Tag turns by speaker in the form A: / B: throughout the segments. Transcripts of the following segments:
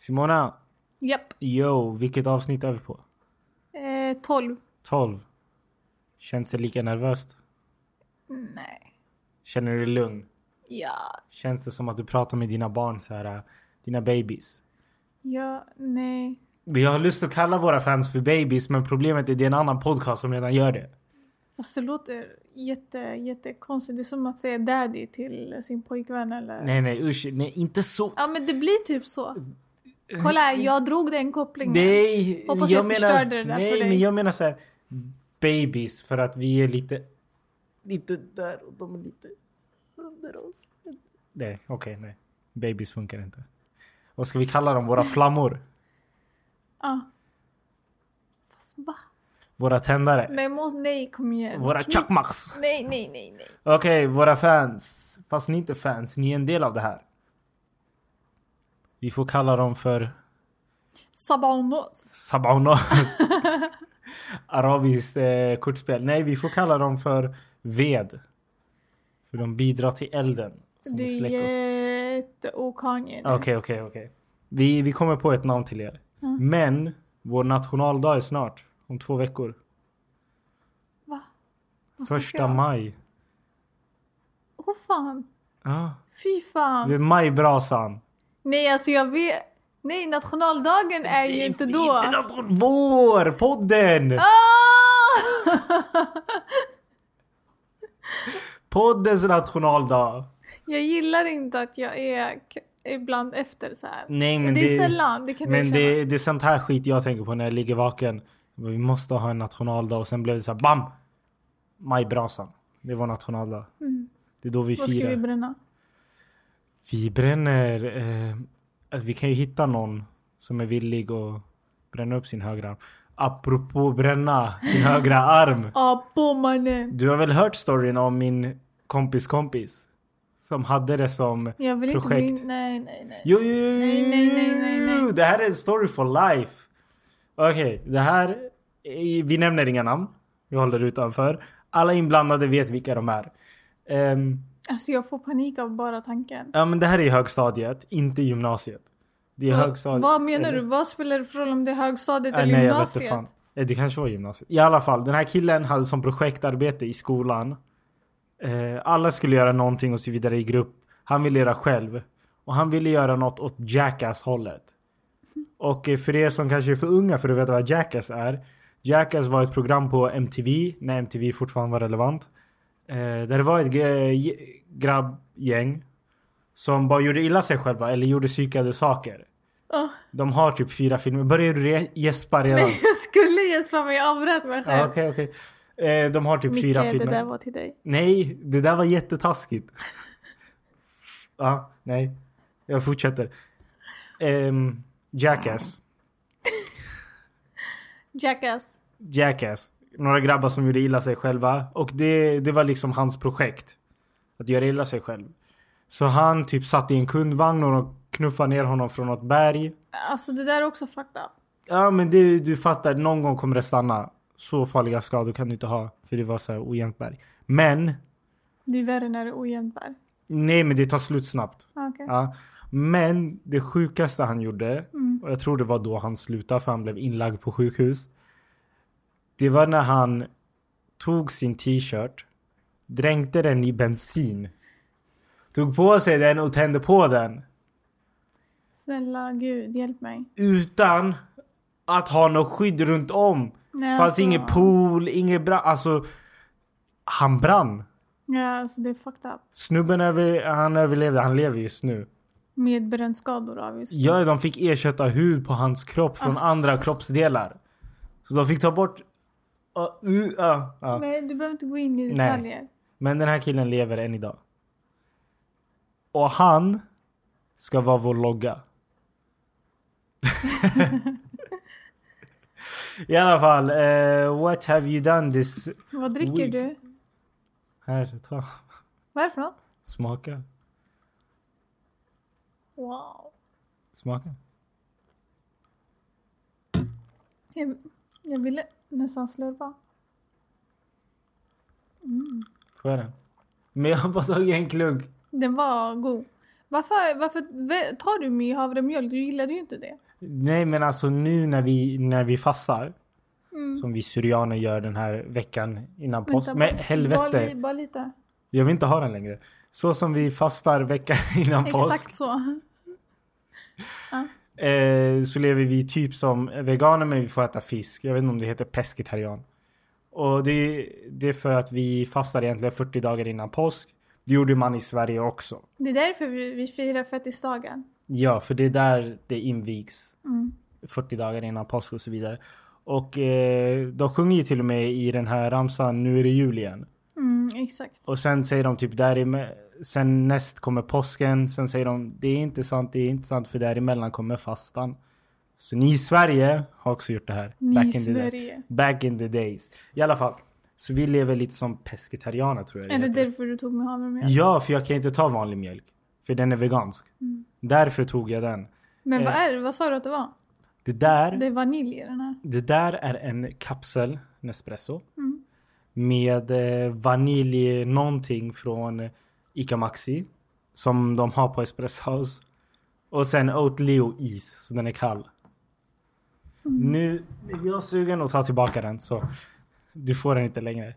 A: Simona,
B: Japp.
A: yo, vilket avsnitt är vi på?
B: Eh, 12.
A: 12. Känns det lika nervöst?
B: Nej.
A: Känner du dig lugn?
B: Ja.
A: Känns det som att du pratar med dina barn så här, äh, dina babies?
B: Ja. Nej.
A: Vi har lust att kalla våra fans för babies men problemet är det är en annan podcast som redan gör det.
B: Fast det låter jätte, jättekonstigt. Det är som att säga daddy till sin pojkvän eller...
A: Nej nej usch, nej inte så.
B: Ja men det blir typ så. Kolla, jag drog den kopplingen.
A: Nej,
B: Hoppas jag förstörde det där
A: nej,
B: för dig.
A: men jag menar så här babies för att vi är lite lite där och de är lite under oss. Nej, okej, nej. Babies funkar inte. Vad ska vi kalla dem? Våra flammor?
B: Ja. Fast va?
A: Våra tändare?
B: Men jag måste... Nej, kom igen.
A: Våra
B: Knyck-
A: chakmaks?
B: Nej, nej, nej, nej.
A: Okej, våra fans. Fast ni är inte fans, ni är en del av det här. Vi får kalla dem för
B: Sabanos.
A: Sabanos. Arabiskt eh, kortspel. Nej, vi får kalla dem för ved. För de bidrar till elden. Som
B: Det
A: vi
B: är
A: släcker oss.
B: jätteokanje nu.
A: Okej, okej, okej. Vi, vi kommer på ett namn till er. Men vår nationaldag är snart. Om två veckor.
B: Va? Vad snackar
A: Första
B: jag om?
A: maj.
B: Åh fan.
A: Ja,
B: Fy fan.
A: det är majbrasan.
B: Nej, alltså jag vet... Nej, nationaldagen är ju inte då.
A: Inte nation- Vår! Podden!
B: Ah!
A: Poddens nationaldag.
B: jag gillar inte att jag är k- ibland efter så här.
A: Nej, Mm, men
B: det är
A: det-
B: sällan, det kan du
A: Men
B: känna.
A: det, det är sånt här skit jag tänker på när jag ligger vaken. Vi måste ha en nationaldag och sen blev det så här BAM! Majbrasan. Det är vår nationaldag. Det är då vi
B: Mm. Vad ska
A: firar.
B: vi
A: Vi,
B: bränna?
A: bränner... Eh, att vi kan ju hitta någon som är villig att bränna upp sin högra arm. Apropå bränna sin högra arm.
B: Ah, bommaren.
A: Du har väl hört storyn om min kompis kompis? Som hade det som
B: Jag vill
A: projekt.
B: inte min... Nej, nej, nej.
A: Jo, jo, jo,
B: Nej, nej, nej, nej, nej.
A: Det här är en story for life. Okej, det här. Vi nämner inga namn. Vi håller det utanför. Alla inblandade vet vilka de är. Ehm,
B: Alltså jag får panik av bara tanken.
A: ja, men det här är högstadiet, inte gymnasiet. Det är högstadiet.
B: Vad menar
A: Eller-
B: du? Vad spelar det för roll om det är högstadiet
A: Ah,
B: eller
A: nej, jag vet inte
B: gymnasiet?
A: fan. Eh, Det kanske var gymnasiet. I alla fall, den här killen hade som projektarbete i skolan. Eh, alla skulle göra någonting och så vidare i grupp. Han ville göra själv. Och han ville göra något åt Jackass-hållet. Och eh, för er som kanske är för unga för att veta vad Jackass är. Jackass var ett program på MTV, när MTV fortfarande var relevant. Eh, där det var ett ge- grabbgäng som bara gjorde illa sig själva eller gjorde psykade saker.
B: Ah,
A: De har typ fyra filmer. Börjar du re- gäspa redan?
B: nej, jag skulle gäspa men jag avbröt mig
A: Ja,
B: själv.
A: Okej, okej. Eh, de har typ
B: Micke,
A: fyra
B: det
A: filmer.
B: där var till dig.
A: Nej, det där var jättetaskigt. ja, nej. Jag fortsätter. Ehm, Jackass.
B: Jackass.
A: Jackass. Några grabbar som gjorde illa sig själva. Och det, det var liksom hans projekt. Att göra illa sig själv. Så han typ satt i en kundvagn och de knuffade ner honom från något berg.
B: Alltså det där är också fucked up.
A: Ja men det, du fattar, någon gång kommer det stanna. Så farliga skador kan du inte ha. För det var så här ojämnt berg. Men
B: Det är värre när det är ojämnt berg.
A: Nej men det tar slut snabbt.
B: Ah, okej.
A: Ja. Men det sjukaste han gjorde, och jag tror det var då han slutade för han blev inlagd på sjukhus. Det var när han tog sin t-shirt, dränkte den i bensin. Tog på sig den och tände på den.
B: Snälla gud, hjälp mig.
A: Utan att ha något skydd runt om.
B: Nej,
A: Fanns
B: alltså-
A: ingen pool, ingen brand. Alltså, han brann.
B: Ja, alltså det är fucked up.
A: Snubben över, han överlevde, han lever just nu.
B: Med brännskador obviously.
A: Ja, de fick ersätta hud på hans kropp från
B: Ass.
A: andra kroppsdelar. Så de fick ta bort... Ja, uh, ja, ja.
B: Men du behöver inte gå in i detaljer.
A: Men den här killen lever än idag. Och han ska vara vår logga. I alla fall, eh, what have you done this...
B: Vad dricker
A: Weak.
B: du?
A: Här, ta.
B: Vad är det för något?
A: Smaka.
B: Wow.
A: Smaka.
B: Jag, jag ville nästan slurpa.
A: Får jag den? Men jag har bara tagit en klunk.
B: Den var god. Varför, varför vä- tar du med havremjölk? Du gillade ju inte det.
A: Nej men alltså nu när vi, när vi fastar.
B: Mm.
A: Som vi syrianer gör den här veckan innan påsk.
B: Vänta,
A: Men
B: bara-
A: helvete.
B: Bara, li- bara lite.
A: Jag vill inte ha den längre. Så som vi fastar veckan innan påsk.
B: Exakt så.
A: Eh, så lever vi typ som veganer men vi får äta fisk. Jag vet inte om det heter pescetarian. Och det, det är för att vi fastar egentligen 40 dagar innan påsk. Det gjorde man i Sverige också.
B: Det är därför vi, vi firar fettisdagen.
A: Ja, för det är där det invigs.
B: Mm.
A: 40 dagar innan påsk och så vidare. Och eh, de sjunger ju till och med i den här ramsan Nu är det jul igen.
B: Mm, exakt.
A: Och sen säger de typ däremellan, sen näst kommer påsken, sen säger de det är inte sant, det är inte sant för däremellan kommer fastan. Så ni i Sverige har också gjort det här.
B: Ni i
A: in the day.
B: Sverige.
A: Back in the days. I alla fall. Så vi lever lite som pescetarianer tror jag
B: Är det
A: heter.
B: därför du tog med havremjölk?
A: Ja, för jag kan inte ta vanlig mjölk. För den är vegansk.
B: Mm.
A: Därför tog jag den.
B: Men vad
A: Eh.
B: är det? Vad sa du att det var?
A: Det där,
B: Det
A: det,
B: är vanilj i den här.
A: där är en kapsel Nespresso.
B: Mm.
A: Med eh, vanilj någonting från Ica Maxi. Som de har på Espresso House. Och sen Oatleo is, så den är kall.
B: Mm.
A: Nu är jag sugen att ta tillbaka den så du får den inte längre.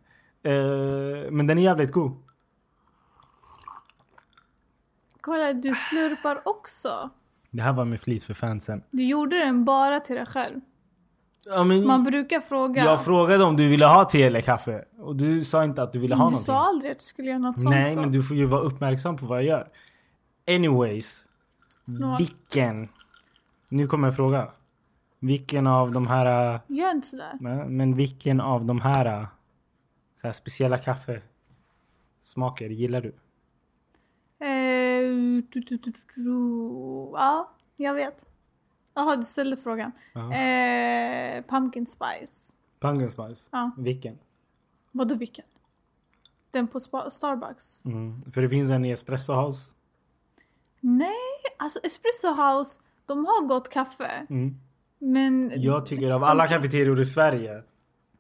A: Eh, men den är jävligt god.
B: Kolla, du slurpar också.
A: Det här var med flit för fansen.
B: Du gjorde den bara till dig själv.
A: Ja, men
B: Man brukar fråga.
A: Jag frågade om du ville ha te eller kaffe. Och du sa inte att du ville ha
B: du
A: någonting.
B: sa aldrig att du skulle göra något sånt.
A: Nej,
B: då.
A: men du får ju vara uppmärksam på vad jag gör. Anyways.
B: Snål.
A: Vilken? Nu kommer en fråga. Vilken av de här... äh,
B: Gör inte sådär.
A: nej, Men vilken av de här, äh, så här speciella kaffesmaker gillar du?
B: Eh, tu, tu, tu, tu, tu. Ja, jag vet. Jaha, du ställde frågan.
A: Ja.
B: Eh, pumpkin spice.
A: Pumpkin spice?
B: Ja.
A: Vilken?
B: Vadå vilken? Den på spa- Starbucks?
A: Mm. För det finns en i Espresso House.
B: Nej, alltså Espresso House, de har gott kaffe.
A: Mm.
B: Men
A: Jag tycker av alla kafeterior i Sverige.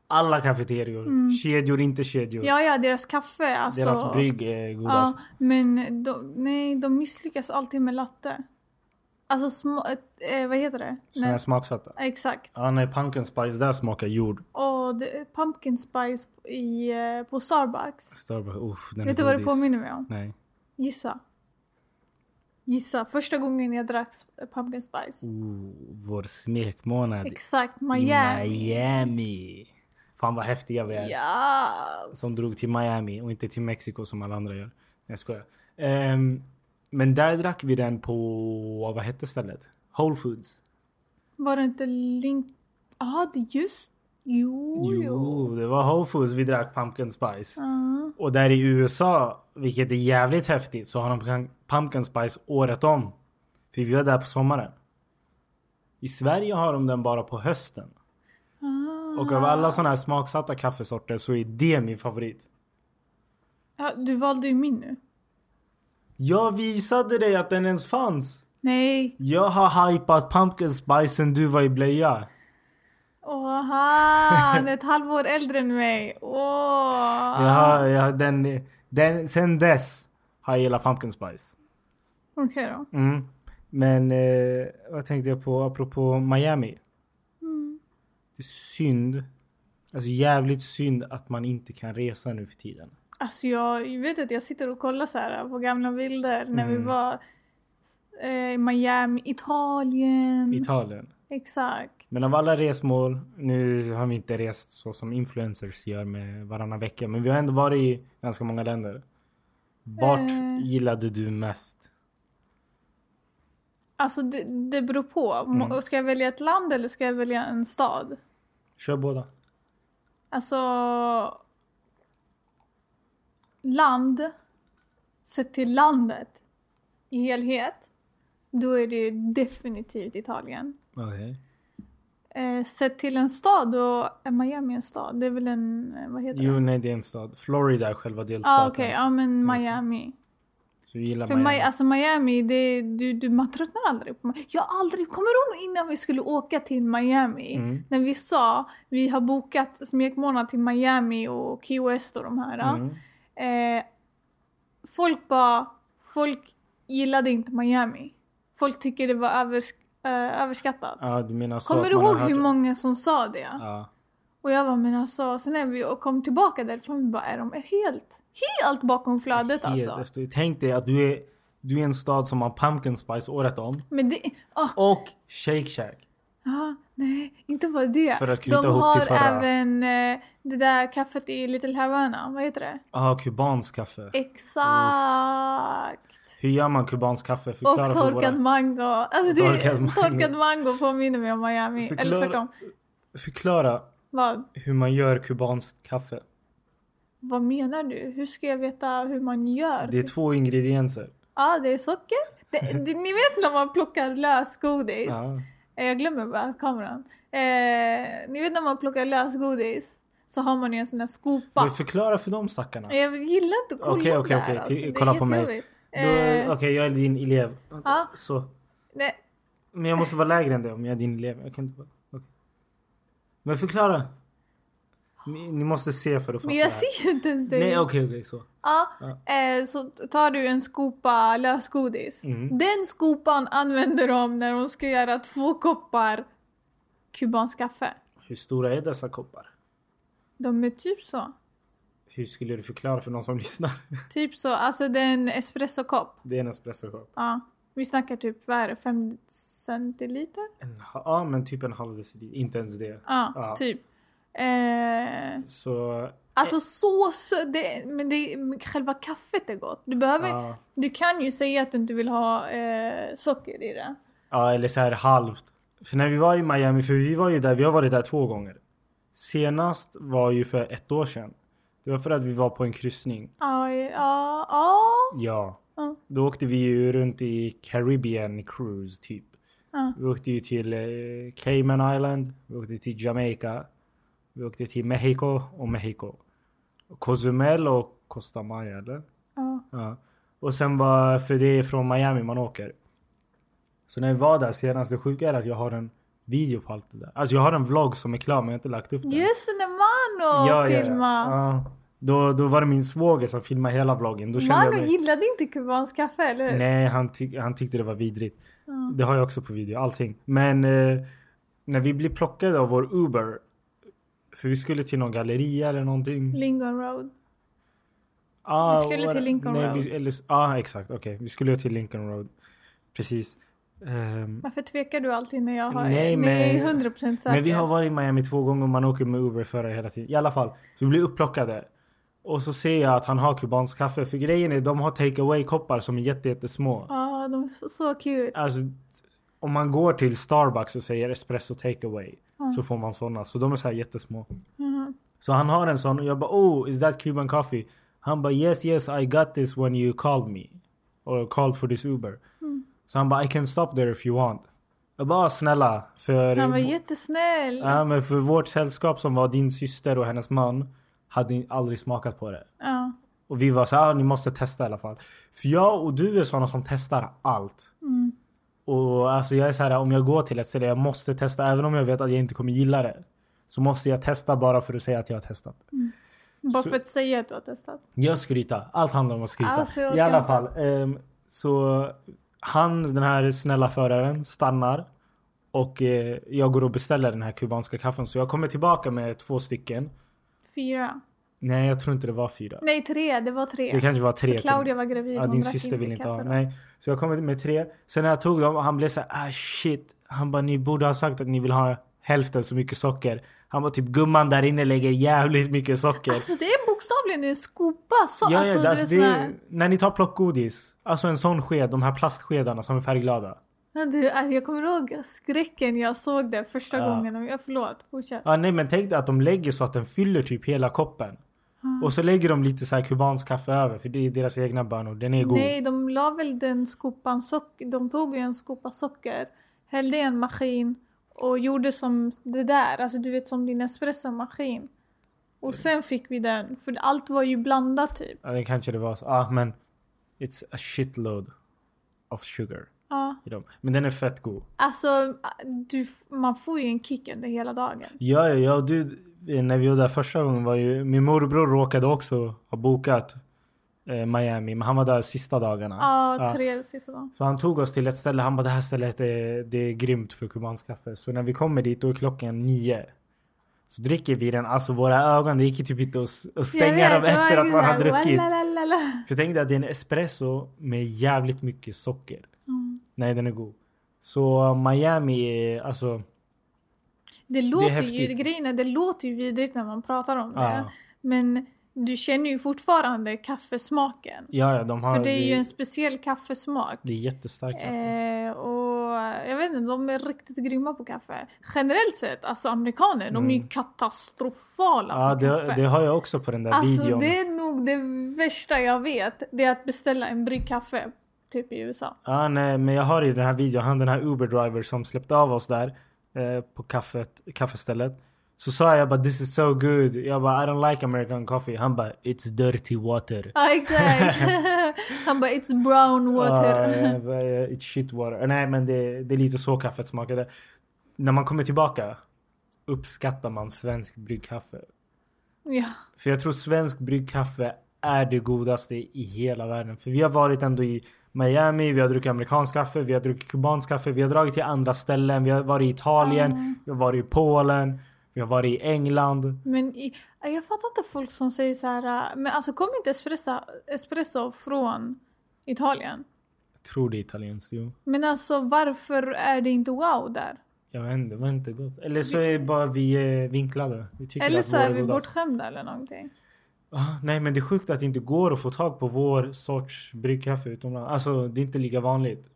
A: Alla kafeterior. Kedjor, inte kedjor.
B: Mm. ja, ja, deras kaffe alltså.
A: Deras brygg är
B: Ja,
A: godast.
B: men de, nej, de misslyckas alltid med latte. Alltså små, eh, vad heter det?
A: Såna här smaksatta.
B: Exakt.
A: Ja, nej, pumpkin spice där smakar jord.
B: Och det, pumpkin spice i, eh, på Starbucks.
A: Starbucks, uff, den är
B: Vet du vad det
A: godis.
B: påminner mig om?
A: Nej.
B: Gissa. Gissa. Första gången jag drack s- pumpkin spice.
A: Oh, vår smekmånad
B: Exakt,
A: i
B: Miami.
A: Miami. Fan vad häftiga vi är.
B: Ja.
A: Som drog till Miami och inte till Mexiko som alla andra gör. Nej, jag skojar. Ehm, men där drack vi den på, vad hette stället? Whole Foods.
B: Var det inte Link... Ja, det är just... Jo, jo.
A: Jo, det var Whole Foods vi drack pumpkin spice.
B: Ja.
A: Och där i USA, vilket är jävligt häftigt, så har de pump- pumpkin spice året om. För vi var där på sommaren. I Sverige har de den bara på hösten.
B: Ah.
A: Och av alla sådana här smaksatta kaffesorter så är det min favorit.
B: Ja, du valde ju min nu.
A: Jag visade dig att den ens fanns.
B: Nej.
A: Jag har hypat pumpkin spice sen du var i blöja.
B: Åh, han är ett halvår äldre än mig. Åh.
A: Jag har, jag, har- den, den, sen dess har jag gillat pumpkin spice.
B: Okej då.
A: Mm. Men eh, vad tänkte jag på apropå Miami?
B: Mm.
A: Det är synd. Alltså jävligt synd att man inte kan resa nu för tiden.
B: Alltså jag jag vet att jag sitter och kollar så här på gamla bilder när vi
A: Mm.
B: var eh, i Miami, Italien.
A: Mm. Italien.
B: Exakt.
A: Men av alla resmål, nu har vi inte rest så som influencers gör med varannan vecka, men vi har ändå varit i ganska många länder. Vart
B: Eh.
A: gillade du mest?
B: Alltså det, det beror på. Må-
A: Mm.
B: Ska jag välja ett land eller ska jag välja en stad?
A: Kör båda.
B: Alltså... Land, sett till landet i helhet, då är det ju definitivt Italien.
A: Okej.
B: Eh, sett till en stad, då är Miami en stad. Det är väl en, eh, vad heter
A: Jo,
B: det?
A: nej det är en stad. Florida är själva delstaten.
B: ah, okej. Ja, men
A: Precis.
B: Miami.
A: Så vi gillar
B: För
A: Miami.
B: Miami. Alltså Miami, det, du, du, man tröttnar aldrig på Miami. Jag har aldrig, kommer du ihåg innan vi skulle åka till Miami?
A: Mm.
B: När vi sa, vi har bokat smekmånad till Miami och Key West och de här.
A: Mm.
B: Eh, folk bara, folk gillade inte Miami. Folk tycker det var övers- eh, överskattat.
A: Ja, du menar så
B: Kommer
A: att
B: du
A: man har
B: ihåg hur
A: hört-
B: många som sa det?
A: Ja.
B: Och jag var men alltså, sen när vi och kom tillbaka därifrån vi bara är de helt, helt bakom flödet alltså.
A: Helt efter- Tänk dig att du är, du är i en stad som har pumpkin spice året om.
B: Men det, ah,
A: Och Shake Shack.
B: ah, nej, inte bara det.
A: För att knyta
B: de
A: ihop
B: har
A: till förra-
B: även eh, det där kaffet i Little Havana, vad heter det?
A: Ja, Ah, kubansk kaffe.
B: Exakt!
A: Hur gör man kubansk kaffe?
B: Och
A: för
B: torkad
A: våra-
B: mango. Alltså det,
A: Torkad
B: torkad,
A: mango.
B: mango. påminner mig om Miami.
A: Förklara-
B: Eller tvärtom.
A: Förklara
B: Vad,
A: hur man gör kubanskt kaffe.
B: vad menar du? Hur ska jag veta hur man gör?
A: Det är två ingredienser.
B: Ja, det är socker. Det, det, ni vet när man plockar lösgodis?
A: Ja.
B: Eh, Jag glömmer bara kameran. Eh, ni vet när man plockar lösgodis så har man ju en sån där skopa.
A: Men förklara för de stackarna.
B: Eh, Jag gillar inte att kolla
A: Okej,
B: okay,
A: okej,
B: okay,
A: okej.
B: där. Alltså.
A: Ti-
B: Det är
A: kolla på mig.
B: jättejobbigt.
A: Då- Okej,
B: Eh,
A: jag är din elev.
B: Ja.
A: Så.
B: nej,
A: Men jag måste vara lägre än det om jag är din elev. Jag kan inte vara... okej. Men förklara. Ni, ni måste se för att fatta
B: men
A: det
B: jag
A: här.
B: ser ju inte ens
A: Nej,
B: dig.
A: okej, okej, så.
B: Ja, eh, så tar du en skopa lösgodis.
A: Mm.
B: Den skopan använder de när de ska göra två koppar kubanskt kaffe.
A: Hur stora är dessa koppar?
B: De är typ så.
A: Hur skulle du förklara för någon som lyssnar?
B: Typ så. Alltså det är en espressokopp.
A: Det är en espressokopp.
B: Ja. Vi snackar typ, vad är det, fem centiliter?
A: En ha- Ja, men typ en halv deciliter. Inte ens det.
B: Ja,
A: Ja.
B: typ. Eh,
A: Så...
B: alltså så sö- det, men det, men själva kaffet är gott. Du, behöver,
A: Ja,
B: du kan ju säga att du inte vill ha eh, socker i det.
A: ja, eller så här halvt. För när vi var i Miami, för vi var ju där, vi har varit där två gånger. Senast var ju för ett år sedan. Det var för att vi var på en kryssning.
B: Ja, ja, ja.
A: Ja.
B: Ja.
A: Då åkte vi ju runt i Caribbean Cruise typ.
B: Ja.
A: Vi åkte ju till eh, Cayman Island, vi åkte till Jamaica, vi åkte till Mexico och Mexico. Cozumel och Costa Maya eller?
B: ja.
A: Ja. Och sen bara, för det är från Miami man åker. Så när vi var där senast, det sjuka är att jag har en video på allt det där. Alltså jag har en vlogg som är klar men jag har inte lagt upp den.
B: Just det, när Mano filmade.
A: Ja. Då, då var det min svåger som filmade hela vloggen. Då kände jag
B: Mano
A: mig...
B: gillade inte kubanskt kaffe, eller hur?
A: Nej, han, tyck- han tyckte det var vidrigt.
B: Ja.
A: Det har jag också på video, allting. Men eh, när vi blev plockade av vår Uber. För vi skulle till någon galleria eller någonting.
B: Lingon Road.
A: Ah,
B: Vi skulle
A: och-
B: till Lincoln
A: nej,
B: Road.
A: Vi, eller, ah, exakt. Okej, vi skulle till Lincoln Road. Precis. Ehm,
B: Varför tvekar du alltid när jag har...
A: Nej,
B: när jag är
A: men-
B: 100% säker.
A: men vi har varit i Miami två gånger och man åker med Uber förra hela tiden. I alla fall, så vi blir upplockade. Och så ser jag att han har kubansk kaffe. För grejen är, de har take away koppar som är jätte, jättesmå.
B: Ja, de är så, så cute.
A: Alltså, om man går till Starbucks och säger espresso takeaway
B: Ja.
A: så får man såna. Så de är så här jättesmå.
B: Mhm.
A: Så han har en sån och jag bara oh is that Cuban coffee? Han bara yes yes I got this when you called me. Or called for this Uber. Så han bara I can stop there if you want. Jag bara "Ah, snälla. För,
B: Han var jättesnäll.
A: ja, men för vårt sällskap som var din syster och hennes man hade aldrig smakat på det.
B: Ja.
A: Och vi var så här, ah, ni måste testa i alla fall. För jag och du är såna som testar allt.
B: Mm.
A: Och alltså jag är så här, om jag går till ett ställe, jag måste testa. Även om jag vet att jag inte kommer gilla det. Så måste jag testa bara för att säga att jag har testat.
B: Bara
A: Så-
B: för att säga att du har testat.
A: Jag skryta. Allt handlar om att skryta.
B: Alltså, jag
A: I alla
B: kan-
A: fall. ehm, så han, den här snälla föraren, stannar. Och eh, jag går och beställer den här kubanska kaffen. Så jag kommer tillbaka med två stycken.
B: Fyra.
A: Nej, jag tror inte det var fyra.
B: Nej, tre. Det var tre.
A: Det kanske var tre. till och med.
B: Claudia var gravid.
A: Ja,
B: hon
A: din
B: drack
A: syster vill inte ha.
B: kaffe då.
A: Nej. Så jag kom med tre. Sen när jag tog dem, han blev så här, ah shit. Han bara, ni borde ha sagt att ni vill ha hälften så mycket socker. Han var typ, gumman där inne lägger jävligt mycket socker.
B: Alltså det är bokstavligen en skopa. Så,
A: Ja, ja,
B: alltså,
A: alltså,
B: du
A: det
B: är
A: är-
B: sån här...
A: när ni tar plockgodis, alltså en sån sked, de här plastskedarna som är färgglada.
B: Ja, Du, alltså, jag kommer ihåg skräcken jag såg det första
A: Ja.
B: gången. Ja, förlåt, fortsätt.
A: Ja, nej men tänk dig att de lägger så att den fyller typ hela koppen.
B: Ah.
A: Och så lägger de lite så här kubansk kaffe över för det är deras egna bönor. Den är god.
B: Nej, de la väl den skopan socker. De tog ju en skopa socker, hällde i en maskin och gjorde som det där. Alltså du vet som din espressomaskin. Och sen fick vi den, för allt var ju blandat typ.
A: Ja, det kanske det var. Så. Ah, men it's a shitload of sugar
B: Ja.
A: i dem. Men den är fett god.
B: Alltså, du, man får ju en kick under hela dagen.
A: Ja, ja, ja, du, när vi var där första gången var ju, min morbror råkade också ha bokat eh, Miami. Men han var där sista dagarna.
B: Ja,
A: Ja.
B: tre sista dagen.
A: Så han tog oss till ett ställe. Han bara det här stället är, det är grymt för kubanskt kaffe. Så när vi kommer dit då är klockan nio. Så dricker vi den. Alltså våra ögon det gick ju typ inte att, s- att
B: Jag
A: stänga dem
B: vet, det var
A: efter att
B: ju
A: man har
B: såhär,
A: druckit.
B: "Wallalalala."
A: För tänk dig att det är en espresso med jävligt mycket socker.
B: Mm.
A: Nej den är god. Så Miami är alltså.
B: Det låter ju,
A: häftigt.
B: grejen är, det låter ju vidrigt när man pratar om det.
A: Ja,
B: Men du känner ju fortfarande kaffesmaken.
A: ja, ja de har.
B: För det är ju en speciell kaffesmak.
A: det är jättestarkt kaffe.
B: Eh, och jag vet inte, de är riktigt grymma på kaffe. Generellt sett, alltså amerikaner, de är ju
A: Mm.
B: katastrofala
A: Ja,
B: på kaffe.
A: det, det har jag också på den där
B: alltså
A: videon.
B: det är nog det värsta jag vet. Det är att beställa en brygg kaffe, typ i USA.
A: Ja, nej, men jag har i den här videon, han den här Uber-driver som släppte av oss där eh, på kaffet, kaffestället. Så sa jag bara this is so good. Jag bara I don't like American coffee. Han bara it's dirty water.
B: Ja exakt! Han bara it's brown Ah, water.
A: Ja, jag bara, "Eh, it's shit water. Nej men det, det är lite så kaffet smakade. När man kommer tillbaka uppskattar man svensk bryggkaffe.
B: ja.
A: För jag tror svensk bryggkaffe är det godaste i hela världen. För vi har varit ändå i Miami, vi har druckit amerikansk kaffe, vi har druckit kubansk kaffe, vi har dragit till andra ställen, vi har varit i Italien,
B: Mm.
A: vi har varit i Polen, vi har varit i England.
B: Men i, jag fattar inte folk som säger så här. äh, men alltså kom inte espresso, espresso från Italien?
A: Jag tror det är italienskt, jo.
B: Men alltså varför är det inte wow där?
A: Jag vet inte, det var inte gott. Eller så är bara vi eh, vinklade. Vi tycker
B: Eller
A: att
B: så
A: vår
B: är vi
A: godast.
B: bortskämda eller någonting.
A: Ah, nej men det är sjukt att det inte går att få tag på vår sorts bryggkaffe utomlands. Alltså det är inte lika vanligt.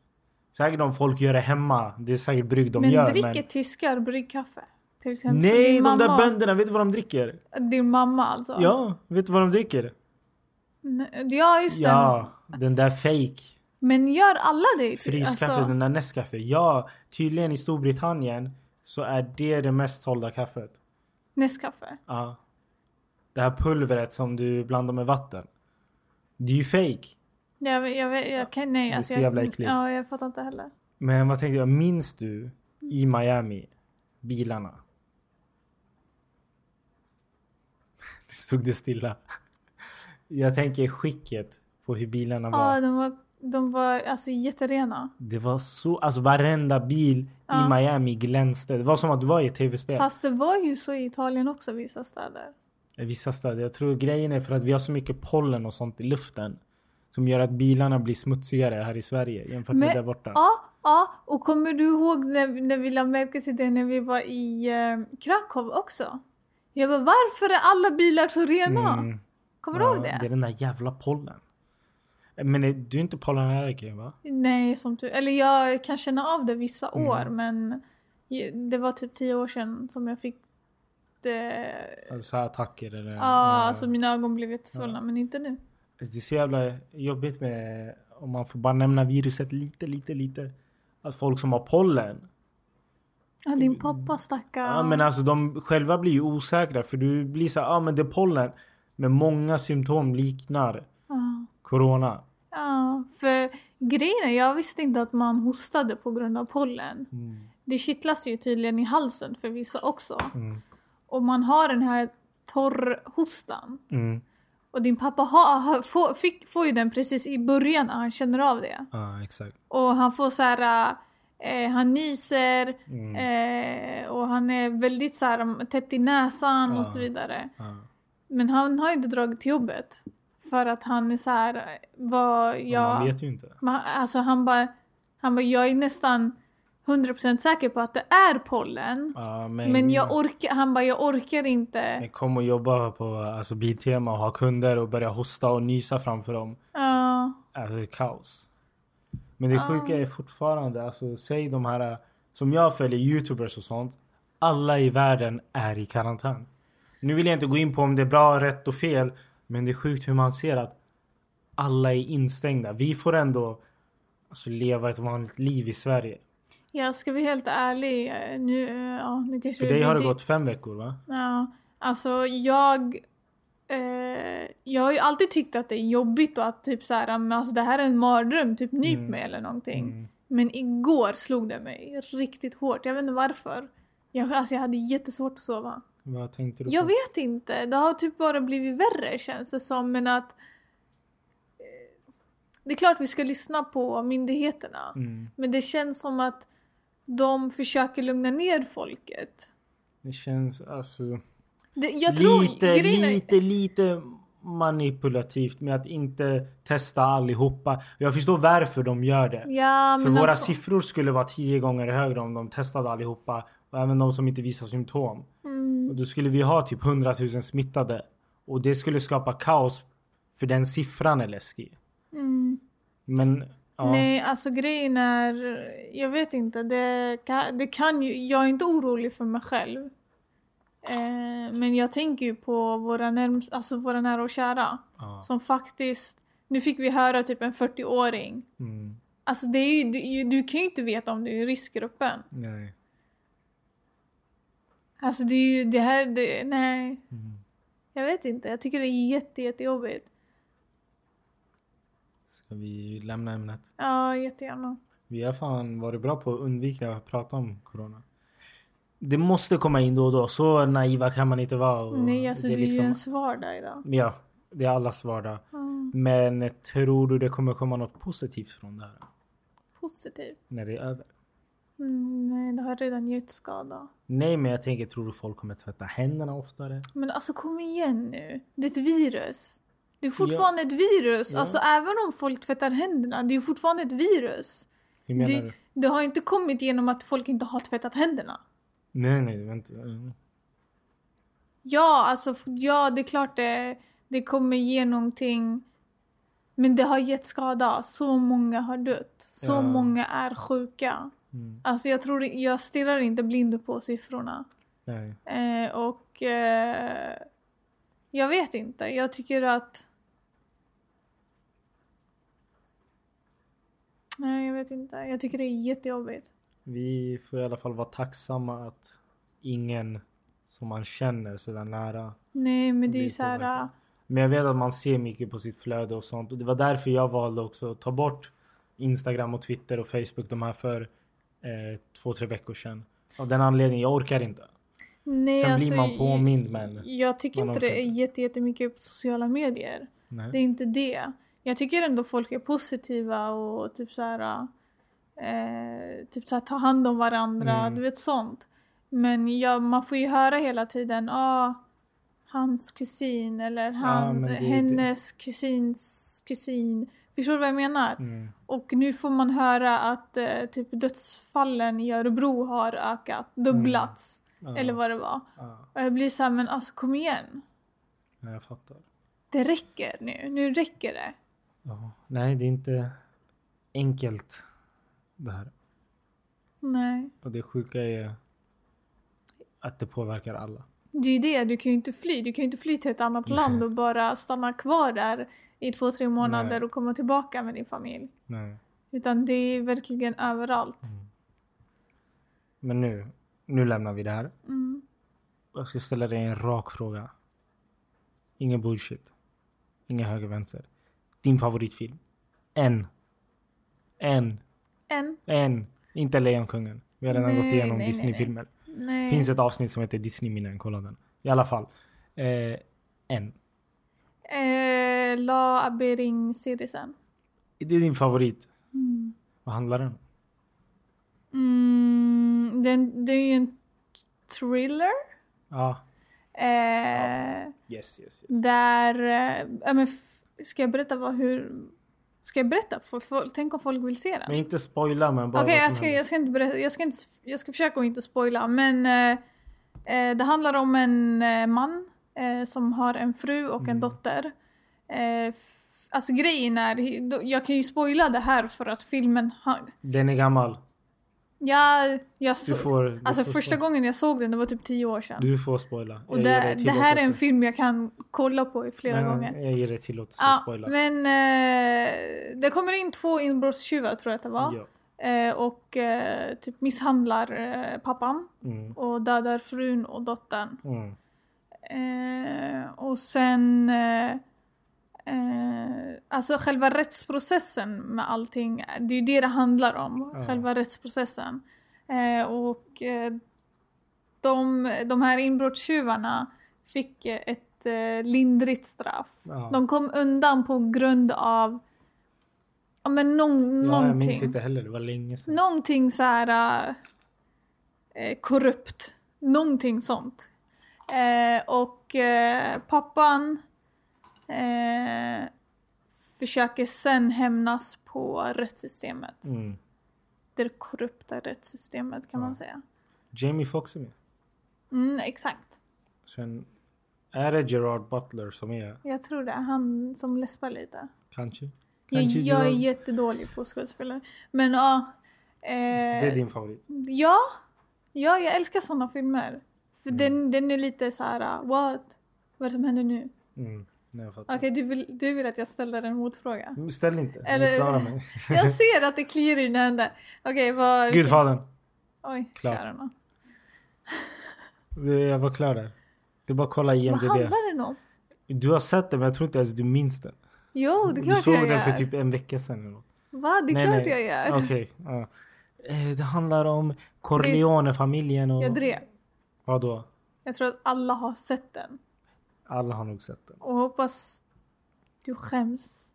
A: Säkert om folk gör det hemma. Det är säkert brygg de
B: men
A: gör.
B: dricker tyskar bryggkaffe? Till exempel. Så
A: Nej,
B: din
A: de där
B: mamma,
A: bönderna, vet du vad de dricker?
B: Din mamma alltså?
A: Ja, vet du vad de dricker?
B: Nej, Ja, just det.
A: Ja, den där fake
B: Men gör alla det? i ty- alltså,
A: friskaffe, den där Nescafe. Ja, tydligen i Storbritannien så är det det mest sålda kaffet.
B: Nescafe?
A: Ja. Det här pulvret som du blandar med vatten. Det är ju fake.
B: Jag, jag, jag, jag kan nej.
A: är
B: alltså,
A: så jävla
B: jag,
A: äckligt.
B: Ja, jag fattar inte heller.
A: Men vad tänkte jag, minns du i Miami bilarna? Stod det stilla? Jag tänker skicket på hur bilarna var.
B: Ja, de var, de var alltså jätterena.
A: Det var så, alltså varenda bil
B: Ja.
A: i Miami glänste. Det var som att du var i ett tv-spel.
B: Fast det var ju så i Italien också vissa städer.
A: I vissa städer. Jag tror grejen är för att vi har så mycket pollen och sånt i luften. Som gör att bilarna blir smutsigare här i Sverige jämfört med
B: Men-
A: där borta.
B: Ja, ja. Och kommer du ihåg när, när vi lade märke till det när vi var i eh, Krakow också? Jag bara, varför är alla bilar så rena?
A: Mm.
B: Kommer
A: Ja,
B: du ihåg det?
A: Det är den där jävla pollen. Men är- du är inte pollenallergiker va?
B: Nej, som tur Eller jag kan känna av det vissa
A: Mm.
B: år men ju- det var typ tio år sedan som jag fick det.
A: Alltså så här attacker eller?
B: Ja, alltså mina ögon blev jättesvullna men inte nu.
A: Det är så jävla jobbigt med, om man får bara nämna viruset lite, lite, lite. Att folk som har pollen.
B: Ja, din pappa stackarn.
A: Mm. Ja men alltså de själva blir ju osäkra för du blir så ja ah, men det är pollen. Men många symptom liknar
B: Ja.
A: corona.
B: Ja, för grejen är, jag visste inte att man hostade på grund av pollen.
A: Mm.
B: Det kittlas ju tydligen i halsen för vissa också.
A: Mm.
B: Och man har den här torrhostan.
A: Mm.
B: Och din pappa har, har, får, fick, får ju den precis i början när han känner av det.
A: Ja exakt.
B: Och han får så här... Eh, han nyser
A: Mm.
B: eh, och han är väldigt så här, täppt i näsan
A: Ja.
B: och så vidare.
A: Ja.
B: Men han har ju inte dragit till jobbet. För att han är så här... Vad
A: Men Man
B: jag...
A: vet ju inte.
B: Man, alltså han bara... Han bara, jag är nästan 100% säker på att det är pollen.
A: Ja, men,
B: Men jag orkar, han bara jag orkar inte.
A: men kom och jobba på alltså, Biltema och ha kunder och börja hosta och nysa framför dem.
B: Ja,
A: Alltså det är kaos. Men det
B: Ja.
A: sjuka är fortfarande, alltså säg de här som jag följer, youtubers och sånt. Alla i världen är i karantän. Nu vill jag inte gå in på om det är bra, rätt och fel. Men det är sjukt hur man ser att alla är instängda. Vi får ändå alltså, leva ett vanligt liv i Sverige.
B: jag ska vara helt ärlig. eh, Nu, eh, ja, nu kanske
A: För
B: det
A: dig
B: blir
A: har det
B: dyrt.
A: gått fem veckor va?
B: Ja, alltså jag... Eh, jag har ju alltid tyckt att det är jobbigt och att typ så här, men alltså det här är en mardröm, typ nyp
A: Mm.
B: mig eller någonting.
A: Mm.
B: Men igår slog det mig riktigt hårt, jag vet inte varför. Jag, alltså jag hade jättesvårt att sova.
A: Vad tänkte du
B: Jag
A: på?
B: vet inte, det har typ bara blivit värre känns det som men att eh, Det är klart vi ska lyssna på myndigheterna.
A: Mm.
B: Men det känns som att de försöker lugna ner folket.
A: Det känns alltså...
B: Det, jag tror
A: lite,
B: grejen är-
A: lite, lite manipulativt med att inte testa allihopa. Jag förstår varför de gör det.
B: Ja,
A: För
B: men
A: våra
B: alltså,
A: siffror skulle vara tio gånger högre om de testade allihopa. Och även de som inte visar symptom. Och
B: mm,
A: då skulle vi ha typ 100 000 smittade. Och det skulle skapa kaos. För den siffran är läskig.
B: mm.
A: Men ja.
B: Nej, alltså grejen är... Jag vet inte. Det kan, det kan ju, jag är inte orolig för mig själv. Eh, men jag tänker ju på våra, närms, alltså våra nära och kära.
A: Ja.
B: Som faktiskt... Nu fick vi höra typ en 40-åring.
A: Mm.
B: Alltså det är ju, du, du kan ju inte veta om du är i riskgruppen.
A: Nej.
B: Alltså det är ju det här, det, nej.
A: Mm.
B: Jag vet inte, jag tycker det är jätte, jättejobbigt.
A: Ska vi lämna ämnet?
B: Ja, jättegärna.
A: Vi har fan varit bra på att undvika att prata om corona. Det måste komma in då och då. Så naiva kan man inte vara. Och
B: nej, alltså det är,
A: liksom-
B: ju ens vardag idag.
A: Ja, det är allas vardag.
B: Mm,
A: Men tror du det kommer komma något positivt från det här?
B: positivt.
A: När det är över?
B: Mm, nej, det har redan gett skada.
A: Nej, men jag tänker tror du folk kommer tvätta händerna oftare?
B: Men alltså kom igen nu. Det är ett virus. Det är fortfarande ett virus.
A: Ja.
B: Alltså även om folk tvättar händerna, det är ju fortfarande ett virus.
A: Hur menar
B: Det,
A: du?
B: det har inte kommit genom att folk inte har tvättat händerna.
A: Nej, nej, vänta. Mm.
B: Ja, alltså f- ja, det är klart det, det kommer ge någonting. Men det har gett skada. Så många har dött. Så
A: Ja.
B: många är sjuka.
A: Mm.
B: Alltså jag tror, jag stirrar inte blind på siffrorna.
A: Nej.
B: Eh, och eh, jag vet inte. Jag tycker att... Nej, jag vet inte. Jag tycker det är jättejobbigt.
A: Vi får i alla fall vara tacksamma att ingen som man känner sådär nära
B: Nej, men det är ju
A: Blir
B: så här...
A: påverkad. Men jag vet att man ser mycket på sitt flöde och sånt. Och det var därför jag valde också att ta bort Instagram och Twitter och Facebook de här för eh, två, tre veckor sedan. Av den anledningen, jag orkar inte.
B: Nej,
A: Sen
B: alltså,
A: blir man påmind men...
B: Jag tycker
A: Man
B: inte
A: orkar
B: det är
A: inte.
B: jätte- jättemycket på sociala medier. Det är
A: Nej.
B: inte det. Jag tycker ändå folk är positiva och typ så här, eh, typ så här ta hand om varandra,
A: Mm.
B: du vet sånt. Men ja, man får ju höra hela tiden, ah, hans kusin eller han,
A: men det är det.
B: hennes kusins kusin. Förstår du vad jag menar?
A: Mm.
B: Och nu får man höra att eh, typ dödsfallen i Örebro har ökat, dubblats.
A: Mm. Ja.
B: Eller vad det var.
A: Ja,
B: Och jag blir så här, men alltså kom igen.
A: nej, jag fattar.
B: Det räcker nu. Nu räcker det.
A: Ja. Nej, det är inte enkelt det här.
B: Nej.
A: Och det sjuka är att det påverkar alla.
B: Det är ju det, du kan ju inte fly. Du kan ju inte fly till ett annat land och bara stanna kvar där i två, tre månader
A: Nej.
B: och komma tillbaka med din familj.
A: Nej.
B: Utan det är verkligen överallt.
A: Men nu, nu lämnar vi det här.
B: Mm.
A: Jag ska ställa dig en rak fråga. Ingen bullshit. Inga höger vänster. Din favoritfilm? En. En.
B: En?
A: En. Inte Lejonkungen. Vi har redan
B: Nej,
A: gått igenom
B: nej,
A: Disney-filmer. Det
B: Nej.
A: finns ett avsnitt som heter Disney-minnen. Kolla den. I alla fall. Eh, en.
B: Eh, La Abering Sirisen.
A: Det är din favorit.
B: Mm.
A: Vad handlar den om?
B: Mm, den, det är ju en thriller.
A: Ja.
B: Eh,
A: Yes, yes, yes.
B: Där... eh, Ja, men f- ska jag berätta vad, hur... Ska jag berätta? För, för, tänk om folk vill se den?
A: Men inte spoila men bara
B: Okej,
A: vad som händer.
B: jag, ska, jag ska inte berätta. Jag ska, inte, jag ska försöka att inte spoila. Men eh, eh, det handlar om en eh, man eh, som har en fru och en
A: Mm.
B: dotter. Eh, f- alltså grejen är, då- jag kan ju spoila det här för att filmen... Ha,
A: Den är gammal.
B: ja, jag
A: Du
B: så,
A: får... Du
B: alltså
A: får
B: första
A: spoila.
B: gången jag såg den, det var typ tio år sedan.
A: Du får spoila.
B: och
A: Jag ger
B: det,
A: dig
B: det här är en
A: tillåtelse.
B: film jag kan kolla på i flera
A: Nej,
B: gånger.
A: Jag ger dig tillåtelse att
B: Ja,
A: spoila.
B: men eh, det kommer in två inbrottstjuvar tror jag att det var.
A: Ja.
B: Eh, och eh, typ misshandlar eh, pappan
A: Mm.
B: och dödar frun och dottern.
A: Mm.
B: Eh, och sen... Eh, eh, alltså själva rättsprocessen med allting, det är ju det det handlar om.
A: Ja.
B: Själva rättsprocessen. Eh, och eh, de, de här inbrottstjuvarna fick eh, ett eh, lindrigt straff.
A: Ja.
B: De kom undan på grund av Ja men någon,
A: Ja, jag minns
B: någonting.
A: inte heller, det var länge sedan.
B: Någonting så här eh, eh, korrupt. Någonting sånt. Eh, och eh, pappan eh, försöker sen hämnas på rättssystemet.
A: Mm.
B: Det korrupta rättssystemet kan man
A: Ja.
B: säga.
A: Jamie Foxx är med.
B: Mm, exakt.
A: Sen är det Gerard Butler som är,
B: Jag tror det är han som läspar lite.
A: kanske?
B: Jag,
A: kanske
B: jag är
A: Gerard-
B: jättedålig på skådespelare. Men ja. eh,
A: Det är din favorit.
B: Ja, ja jag älskar såna filmer. För
A: Mm.
B: den, den är lite så här, uh, what? Vad är det som händer nu?
A: Mm. Nej, jag fattar.
B: Okej, du, vill, du vill att jag ställer en motfråga.
A: Men Ställ inte,
B: Eller-
A: Eller... klara mig.
B: Jag ser att det kliar i dina händer. Okej, vad... vilken-
A: Gudfadern.
B: Oj,
A: Klart.
B: kära
A: Det- Jag var klar där. Det är bara att kolla
B: Vad
A: IMDB.
B: handlar den om?
A: Du har sett den men jag tror inte ens du minns den.
B: Jo, det är klart
A: du såg
B: jag
A: den
B: gör.
A: för typ en vecka sedan. Eller något.
B: Va? Det är
A: Nej,
B: klart
A: nej.
B: jag gör.
A: Okej. ja. Eh, Det handlar om Corleone-familjen och...
B: Jag drev.
A: Vadå?
B: Jag tror att alla har sett den.
A: Alla har nog sett den.
B: Och hoppas du skäms.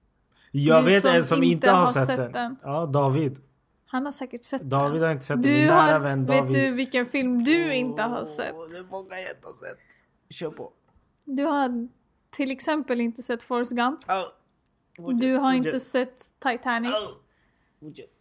A: Jag
B: Du
A: vet
B: som
A: en som inte, har sett, den.
B: den.
A: Ja, David.
B: Han har säkert sett
A: David
B: den.
A: har inte sett den.
B: Du
A: Min nära
B: har,
A: vän David.
B: vet du vilken film du inte har sett?
A: Det är många jag inte har sett. Kör på.
B: Du har till exempel inte sett Forrest Gump. Du har inte sett Titanic.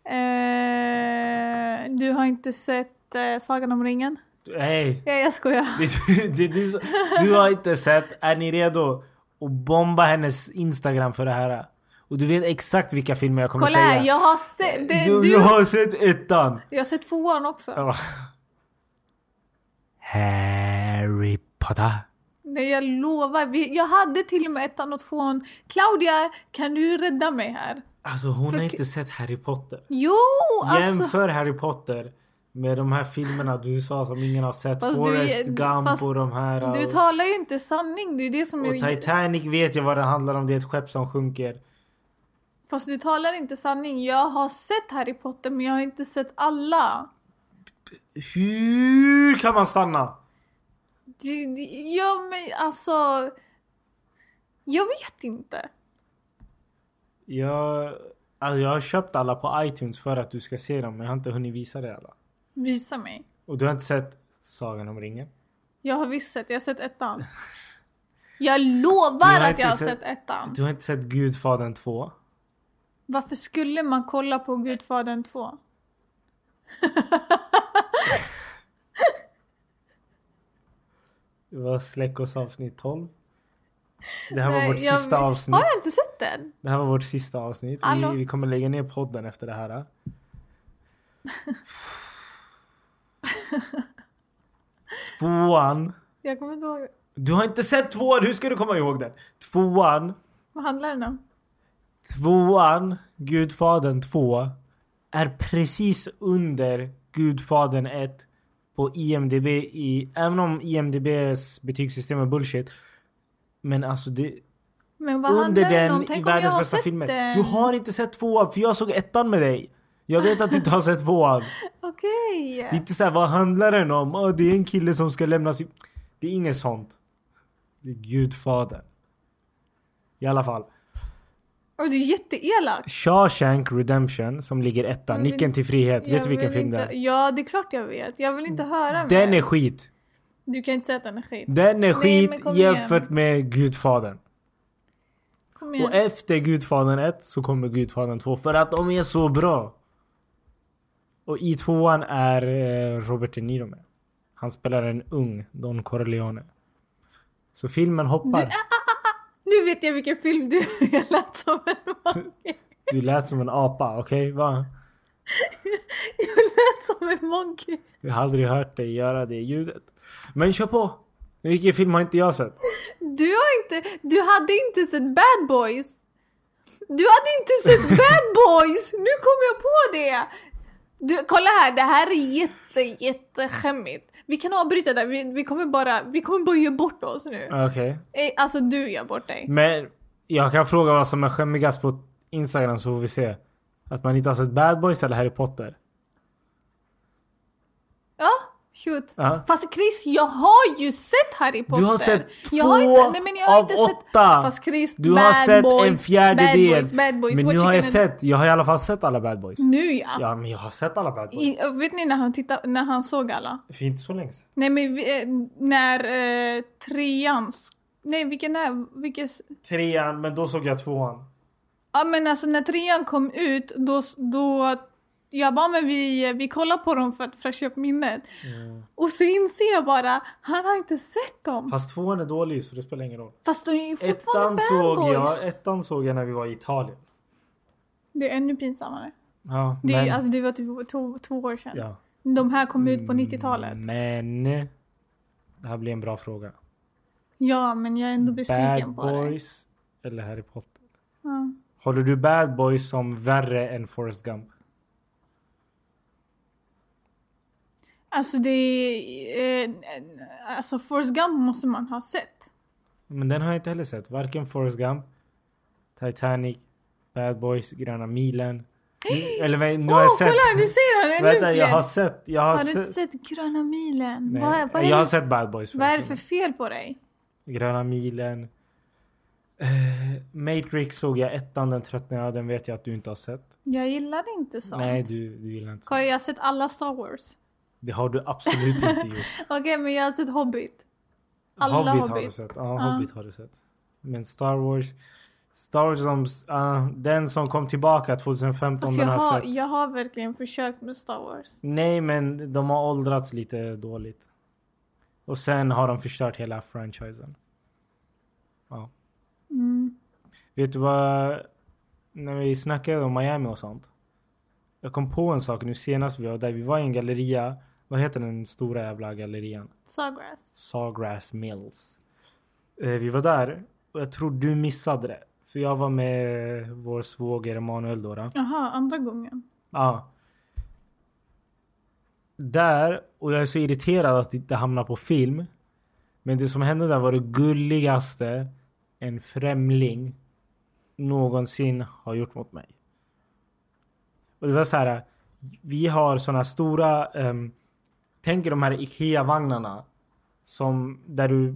B: Eh, du har inte sett eh, Sagan om ringen.
A: Hej!
B: Ja, jag skojar.
A: Det är du- det är du som- Du har inte sett. Är ni redo? Och bomba hennes Instagram för det här. Och du vet exakt vilka filmer jag kommer
B: Kolla
A: säga. Eh,
B: här, jag har sett... det-
A: du,
B: Du,
A: jag har sett ettan.
B: jag har sett tvåan också.
A: Ja. Harry Potter.
B: Nej, jag lovar. Vi, jag hade till och med ettan och tvåan. Claudia, kan du rädda mig här?
A: Alltså hon
B: För-
A: har inte sett Harry Potter.
B: Jo, alltså.
A: Jämför Harry Potter med de här filmerna du sa som ingen har sett.
B: Fast du-
A: Forrest Gump
B: fast
A: och de här.
B: Du
A: och-
B: talar ju inte sanning. Det är det som
A: Och
B: är...
A: Titanic vet jag vad det handlar om. Det är ett skepp som sjunker.
B: Fast du talar inte sanning. Jag har sett Harry Potter men jag har inte sett alla.
A: Hur kan man stanna?
B: Det- det- Ja men alltså... Jag vet inte.
A: Jag, alltså jag har köpt alla på iTunes för att du ska se dem. Men jag har inte hunnit visa dig alla.
B: Visa mig.
A: Och du har inte sett Sagan om ringen?
B: Jag har visst sett, jag har sett ettan. Jag
A: Du
B: lovar
A: har
B: att jag har
A: inte
B: sett
A: sett-
B: ettan.
A: Du har inte sett Gudfadern 2?
B: Varför skulle man kolla på Gudfadern 2?
A: Det var Släckos avsnitt 12. Det här
B: Nej,
A: var vårt
B: jag-
A: sista avsnitt.
B: Har jag inte sett den?
A: Det här var vårt sista avsnitt.
B: Hallå?
A: Vi, vi kommer lägga ner podden efter det här. Tvåan.
B: Jag kommer inte ihåg.
A: Du har inte sett tvåan, hur ska du komma ihåg den? Tvåan,
B: Vad handlar den om?
A: tvåan, Gudfadern 2 är precis under Gudfadern 1 på IMDB i, även om IMDBs betygssystem är bullshit. Men alltså det,
B: Men vad
A: under
B: handlar den om?
A: den i
B: Tänk om jag
A: världens
B: har
A: bästa
B: sett eh,
A: filmer.
B: den?
A: Du har inte sett tvåan för jag såg ettan med dig. Jag vet att du inte har sett tvåan.
B: Okej.
A: Det är inte såhär, vad handlar den om? Åh, det är en kille som ska lämna sin... Det är inget sånt. Det är Gudfadern. I alla fall.
B: Och du är jätteelak.
A: Shawshank Redemption som ligger etta,
B: Jag vill-
A: Nyckeln till frihet. Vet
B: Jag
A: du vilken
B: vill
A: film
B: inte...
A: det är?
B: Ja, det är klart jag vet. Jag vill inte höra
A: Den
B: mer.
A: är skit.
B: Du kan inte säga att den är skit.
A: Den är skit
B: men kom igen.
A: jämfört med Gudfadern.
B: Kom igen.
A: Och efter Gudfadern 1 så kommer Gudfadern 2 för att de är så bra. Och i tvåan är eh, Robert De Niro med. Han spelar en ung Don Corleone. Så filmen hoppar. Du,
B: Nu vet jag vilken film du lät som en monkey.
A: lät som en apa, okej? Va?
B: Jag lät som en monkey.
A: Jag har aldrig hört dig göra det ljudet. Men kör på! Vilken film har inte jag sett?
B: Du har inte, du hade inte sett Bad Boys. Du hade inte sett Bad Boys! Nu kom jag på det! Du, kolla här, det här är jätte, jätteskämmigt. Vi kan avbryta där, vi, vi kommer bara, vi kommer bara göra bort oss nu.
A: Okej.
B: Eh, Alltså du gör bort dig.
A: Men jag kan fråga vad som är skämmigast på Instagram så får vi se. Att man inte har sett Bad Boys eller Harry Potter.
B: Ja, Shoot.
A: Ja.
B: Fast Chris, jag har ju sett Harry Potter!
A: Du har sett
B: jag har
A: två
B: inte, nej, men jag har
A: av
B: inte Sett,
A: åtta.
B: fast Chris,
A: Du
B: bad
A: har sett
B: boys,
A: en fjärdedel.
B: Bad boys, bad boys.
A: Men
B: what
A: nu
B: you
A: har jag
B: gonna-
A: sett, jag har i alla fall sett alla bad boys.
B: Nu ja!
A: Ja men jag har sett alla bad boys.
B: I, och vet ni när han, tittade, när han såg alla?
A: För inte så länge sedan.
B: Nej men vi- eh, när eh, treans... Nej vilken är... Vilken,
A: Trean, men då såg jag tvåan.
B: ja men alltså när trean kom ut då... då jag bara men vi, vi kollar på dem för att fräscha upp minnet.
A: Mm.
B: Och så inser jag bara, han har inte sett dem! Fast,
A: Fast tvåan är dålig så det spelar ingen roll.
B: de är ju
A: Ettan
B: fortfarande
A: såg,
B: badboys!
A: jag, ettan såg jag när vi var i Italien.
B: Det är ännu pinsammare.
A: Ja,
B: Det, är ju-
A: men,
B: alltså, det var typ två, två år sedan.
A: ja. Mm.
B: De här kom ut på 90-talet.
A: men... Det här blir en bra fråga.
B: Ja men jag är ändå
A: Bad
B: besviken på det.
A: Boys eller Harry Potter?
B: Ja.
A: Håller du Bad Boys som värre än Forrest Gump?
B: Alltså det är... Eh, alltså Forrest Gump måste man ha sett.
A: Men den har jag inte heller sett. Varken Forrest Gump, Titanic, Bad Boys, Gröna milen. Nu, eller vä- nu
B: Åh
A: har jag sett.
B: kolla nu säger han ännu
A: Vänta,
B: fler!
A: jag har sett. Jag har,
B: Har du inte
A: sett.
B: sett Gröna milen?
A: Nej,
B: vad, vad, är
A: jag har
B: det,
A: sett Bad Boys.
B: vad är det
A: förut.
B: för fel på dig?
A: Gröna milen. Eh, Matrix såg jag ettan, den tröttnade jag. Den vet jag att du inte har sett.
B: Jag gillade inte sånt.
A: Nej, du, du gillar inte
B: Kolla
A: sånt.
B: jag har sett alla Star Wars.
A: Det har du absolut inte gjort.
B: Okej men jag har sett Hobbit. Alla Hobbit.
A: har du sett. Ja,
B: Ja.
A: Hobbit har du sett. Men Star Wars. Star Wars som, ah, den som kom tillbaka 2015
B: Alltså, jag,
A: den har
B: har,
A: sett.
B: jag har verkligen försökt med Star Wars.
A: Nej men de har åldrats lite dåligt. Och sen har de förstört hela franchisen. Ja.
B: Mm.
A: Vet du vad? När vi snackade om Miami och sånt. Jag kom på en sak nu senast vi var där. Vi var i en galleria. Vad heter den stora jävla gallerian?
B: Sawgrass.
A: Sawgrass Mills. Eh, vi var där och jag tror du missade det. För jag var med vår svåger Emanuel då. då.
B: Jaha, andra gången.
A: Ja. Där, och jag är så irriterad att det inte hamnar på film. Men det som hände där var det gulligaste en främling någonsin har gjort mot mig. Och det var så här. Vi har såna stora, ehm, tänk er de här IKEA-vagnarna. Som, där du,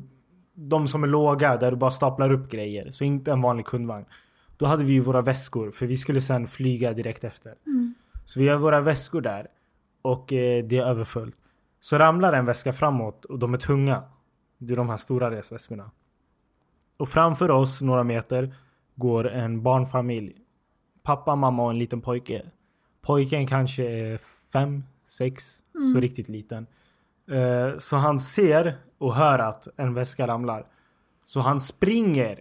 A: de som är låga, där du bara staplar upp grejer. Så inte en vanlig kundvagn. Då hade vi ju våra väskor, för vi skulle sen flyga direkt efter.
B: Mm.
A: Så vi har våra väskor där och eh, det är överfullt. Så ramlar en väska framåt och de är tunga. Det är de här stora resväskorna. Och framför oss några meter går en barnfamilj. Pappa, mamma och en liten pojke. Pojken kanske är fem, sex, så riktigt liten. Eh, Så han ser och hör att en väska ramlar. Så han springer.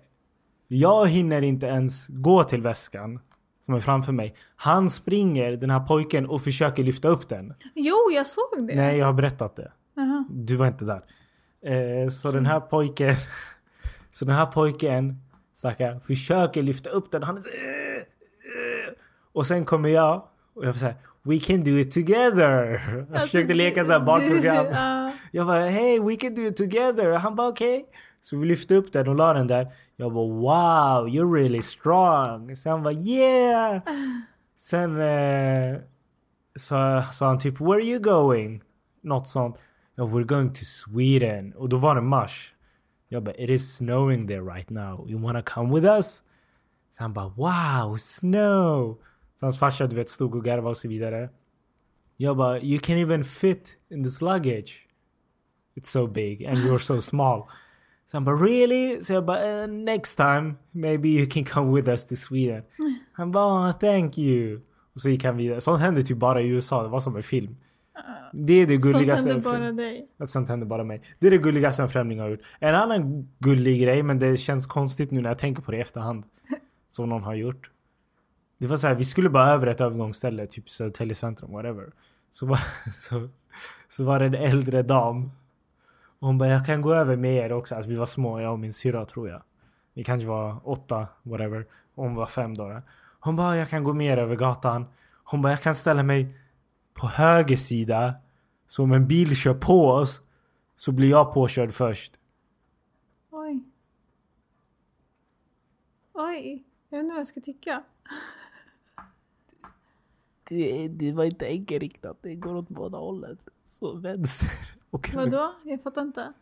A: Jag hinner inte ens gå till väskan som är framför mig. Han springer, den här pojken, och försöker lyfta upp den.
B: Jo, jag såg det.
A: Nej, jag har berättat det.
B: Jaha.
A: Du var inte där. Eh, så den här pojken. Så den här pojken. Stackar. Försöker lyfta upp den. Han är så, "Eh, eh." Och sen kommer jag. Och jag säger We can do it together. Jag
B: Alltså,
A: försökte leka
B: du-
A: så här barnprogram.
B: du- ja.
A: Jag bara hey we can do it together. Han bara okej. Så vi lyfte upp den och la den där. Jag bara wow you're really strong. Så han bara yeah. Sen eh, sa sa han typ where are you going? Något sånt. Jag bara, we're going to Sweden. Och då var det mars. Jag bara it is snowing there right now. You wanna come with us? Så han bara wow snow. Så hans farsa du vet stod och garvade och så vidare. Jag bara eh? you can even fit in this luggage. It's so big and you're so small. Så han bara really? Så jag bara eh, next time maybe you can come with us to Sweden. Han bara "Ah, thank you. Och så gick han vidare. Sånt händer typ bara i USA. Det var som en film. Det är det
B: Sånt
A: gulligaste.
B: hände
A: en film-
B: bara dig.
A: att sånt händer bara mig. Det är det gulligaste en främling har gjort. En annan gullig grej, men det känns konstigt nu när jag tänker på det i efterhand. Som någon har gjort. Det var så här, vi skulle bara över ett övergångsställe, typ Södertälje centrum, whatever. Så var, så, så var det en äldre dam. Och hon bara, jag kan gå över med er också. Alltså vi var små, jag och min syrra tror jag. Vi kanske var åtta, whatever. Och hon var fem då. då. Hon bara, jag kan gå med er över gatan. Hon bara, jag kan ställa mig på höger sida. Så om en bil kör på oss så blir jag påkörd först.
B: Oj. Oj. Jag vet inte vad jag ska tycka.
C: det, det var inte enkelriktat. Det går åt båda hållen.
A: Så vänster. Och
B: Vadå? Jag fattar inte.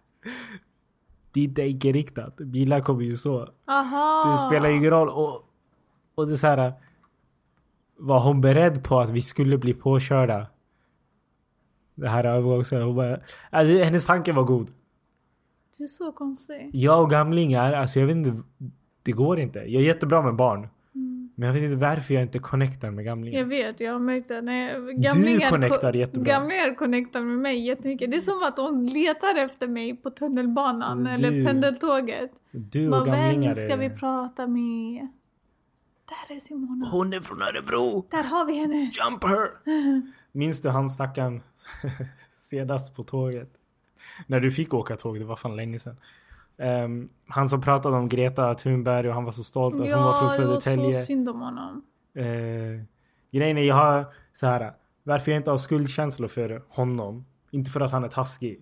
A: dit är icke riktat. Bilar kommer ju så.
B: Aha.
A: Det spelar ju ingen roll. Och, och det är så här. Var hon beredd på att vi skulle bli påkörda? Det här övergångsstället. Hon bara, alltså, hennes tanke var god.
B: Du är så konstig.
A: Jag och gamlingar, alltså jag vet inte. Det går inte. Jag är jättebra med barn. Men jag vet inte varför jag inte connectar med gamlingar.
B: Mm. Jag vet, jag har märkt det. När jag- gamlingar ko-
A: connectar jättebra.
B: Gamlingar connectar med mig jättemycket. Det är som att hon letar efter mig på tunnelbanan
A: Men
B: eller
A: du-
B: pendeltåget.
A: Du
B: Vad
A: och gamlingar
B: vem ska
A: är-
B: vi prata med? Där är Simona.
A: Hon är från Örebro!
B: Där har vi henne.
A: Jump her! Minns du han stackaren senast på tåget? När du fick åka tåg, det var fan länge sedan. Ehm, han som pratade om Greta Thunberg och han var så stolt att hon var
B: Ja,
A: från
B: det var så
A: Södertälje.
B: synd om honom.
A: Eh, grejen är, jag har så här. Varför jag inte har skuldkänslor för honom. Inte för att han är taskig.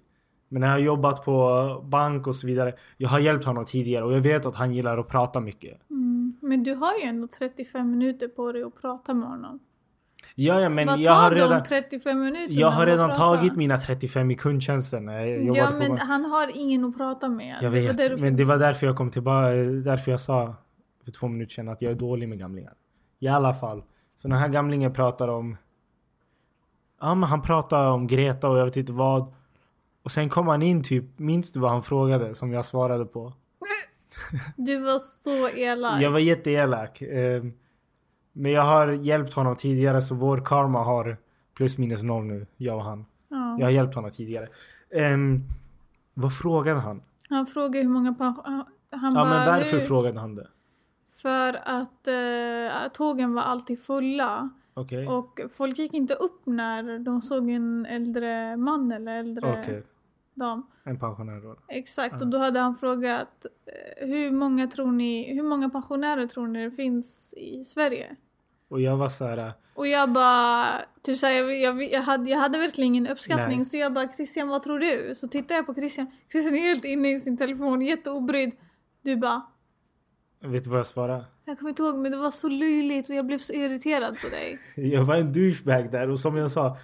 A: Men när jag har jobbat på bank och så vidare. Jag har hjälpt honom tidigare och jag vet att han gillar att prata mycket.
B: Mm. Men du har ju ändå 35 minuter på dig att prata med honom.
A: Ja, ja men
B: Vad
A: jag
B: tar
A: har redan...
B: de 35 minuterna?
A: Jag har
B: att
A: redan
B: prata?
A: tagit mina 35 i kundtjänsten. när Jag jobbade
B: Ja
A: på
B: men
A: bank.
B: han har ingen att prata med.
A: jag
B: Det var
A: vet,
B: därför-
A: men det var därför jag kom tillbaka. Därför jag sa för två minuter sedan att jag är dålig med gamlingar. I alla fall. Så den här gamlingen pratar om... Ja men han pratar om Greta och jag vet inte vad. Och sen kom han in typ, minns du vad han frågade som jag svarade på?
B: Du var så elak.
A: Jag var jätteelak. Eh, men jag har hjälpt honom tidigare så vår karma har plus minus noll nu, jag och han.
B: Ja.
A: Jag har hjälpt honom tidigare. Ehm, vad frågade han?
B: Han frågade hur många pensioner... Han
A: Ja
B: bara,
A: men varför
B: hur?
A: frågade han det?
B: För att eh, tågen var alltid fulla.
A: Okej.
B: Och folk gick inte upp när de såg en äldre man eller äldre
A: Okej.
B: dam.
A: En pensionär då.
B: Exakt,
A: Ja.
B: och då hade han frågat eh, hur många, tror ni, hur många pensionärer tror ni det finns i Sverige?
A: Och jag var så här. äh,
B: Och jag bara, typ såhär, jag, jag, jag, hade, jag hade verkligen ingen uppskattning
A: Nej.
B: så jag bara Christian vad tror du? Så tittar jag på Christian, Christian är helt inne i sin telefon, jätteobrydd. Du bara,
A: Vet du vad jag svarade?
B: jag kommer inte ihåg men det var så löjligt och jag blev så irriterad på dig.
A: Jag var en douchebag där och som jag sa.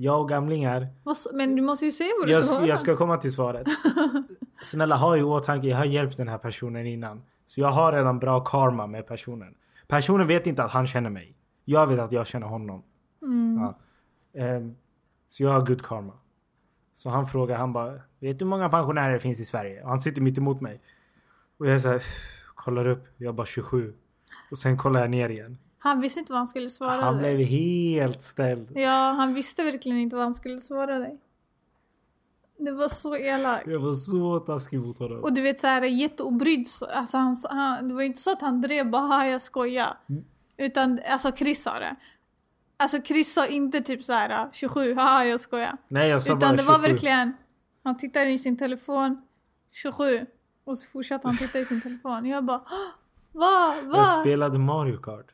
A: Jag och gamlingar.
B: Vad så- Men du måste ju säga vad du
A: Jag, sk-
B: svarade.
A: jag ska komma till svaret. Snälla ha i åtanke. Jag har hjälpt den här personen innan. Så jag har redan bra karma med personen. Personen vet inte att han känner mig. Jag vet att jag känner honom.
B: Mm.
A: Ja. Ehm, så jag har good karma. Så han frågar, han bara, vet du hur många pensionärer det finns i Sverige? Och han sitter mitt emot mig. Och jag säger, kollar upp, jag bara 27. Och sen kollar jag ner igen.
B: Han visste inte vad han skulle svara
A: Han
B: dig.
A: blev helt ställd.
B: Ja, han visste verkligen inte vad han skulle svara dig. Det var så elakt.
A: Jag var så taskig mot honom.
B: Och du vet såhär jätteobrydd. så- Alltså han, han, det var ju inte så att han drev bara "Ha, jag skojar.
A: Mm.
B: Utan alltså Chris sa det. Alltså Chris sa inte typ så här 27 haha jag skojar.
A: Nej jag sa
B: Utan
A: bara
B: det var
A: 27.
B: verkligen han tittade i sin telefon 27 och så fortsatte han titta i sin telefon. Jag bara "Hå? vad
A: Jag
B: vad?
A: spelade Mario Kart.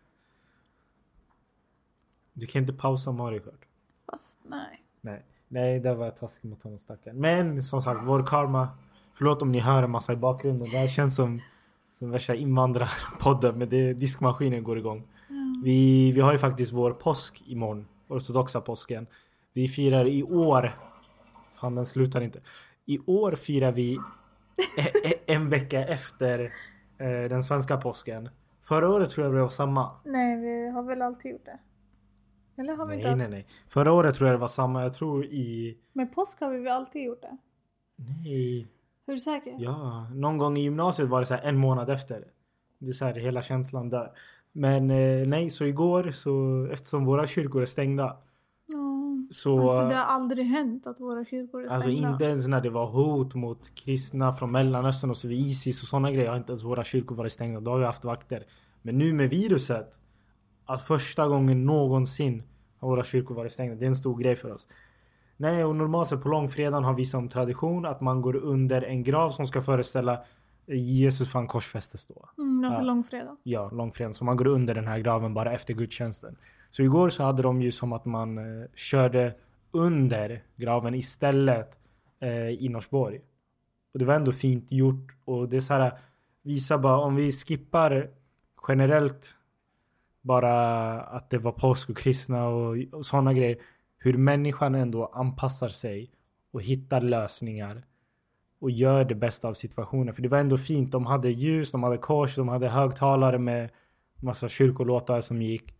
A: Du kan inte pausa Mario Kart.
B: Fast nej.
A: Nej, nej där var jag taskig mot honom stackaren. Men som sagt, vår karma. Förlåt om ni hör en massa i bakgrunden. Det här känns som, som värsta invandrarpodden. Men det, diskmaskinen går igång. Vi, vi har ju faktiskt vår påsk imorgon. Ortodoxa påsken. Vi firar i år. Fan den slutar inte. I år firar vi e- e- en vecka efter eh, den svenska påsken. Förra året tror jag det var samma.
B: Nej vi har väl alltid gjort det. Eller har vi inte?
A: Nej, nej, nej. Förra året tror jag det var samma. Jag tror i...
B: Med påsk har vi väl alltid gjort det?
A: Nej.
B: Är du säker?
A: Ja, någon gång i gymnasiet var det så här en månad efter. Det är så här hela känslan där. Men eh, nej, så igår så eftersom våra kyrkor är stängda
B: Ja.
A: så
B: Alltså det har aldrig hänt att våra kyrkor är
A: eh, alltså,
B: stängda.
A: inte ens när det var hot mot kristna från Mellanöstern och så vid Isis och sådana grejer har inte ens våra kyrkor varit stängda. Då har vi haft vakter. Men nu med viruset att första gången någonsin har våra kyrkor varit stängda. Det är en stor grej för oss. Nej, och normalt sett på långfredagen har vi som tradition att man går under en grav som ska föreställa Jesus fan korsfästes då.
B: Mm, alltså
A: Ja.
B: långfredag.
A: Ja, långfredagen. Så man går under den här graven bara efter gudstjänsten. Så igår så hade de ju som att man eh, körde under graven istället eh, i Norsborg. Och det var ändå fint gjort och det är så här visar bara om vi skippar generellt bara att det var påsk och kristna och, och sådana grejer. hur människan ändå anpassar sig och hittar lösningar och gör det bästa av situationen. För det var ändå fint. De hade ljus, de hade kors, de hade högtalare med massa kyrkolåtar som gick.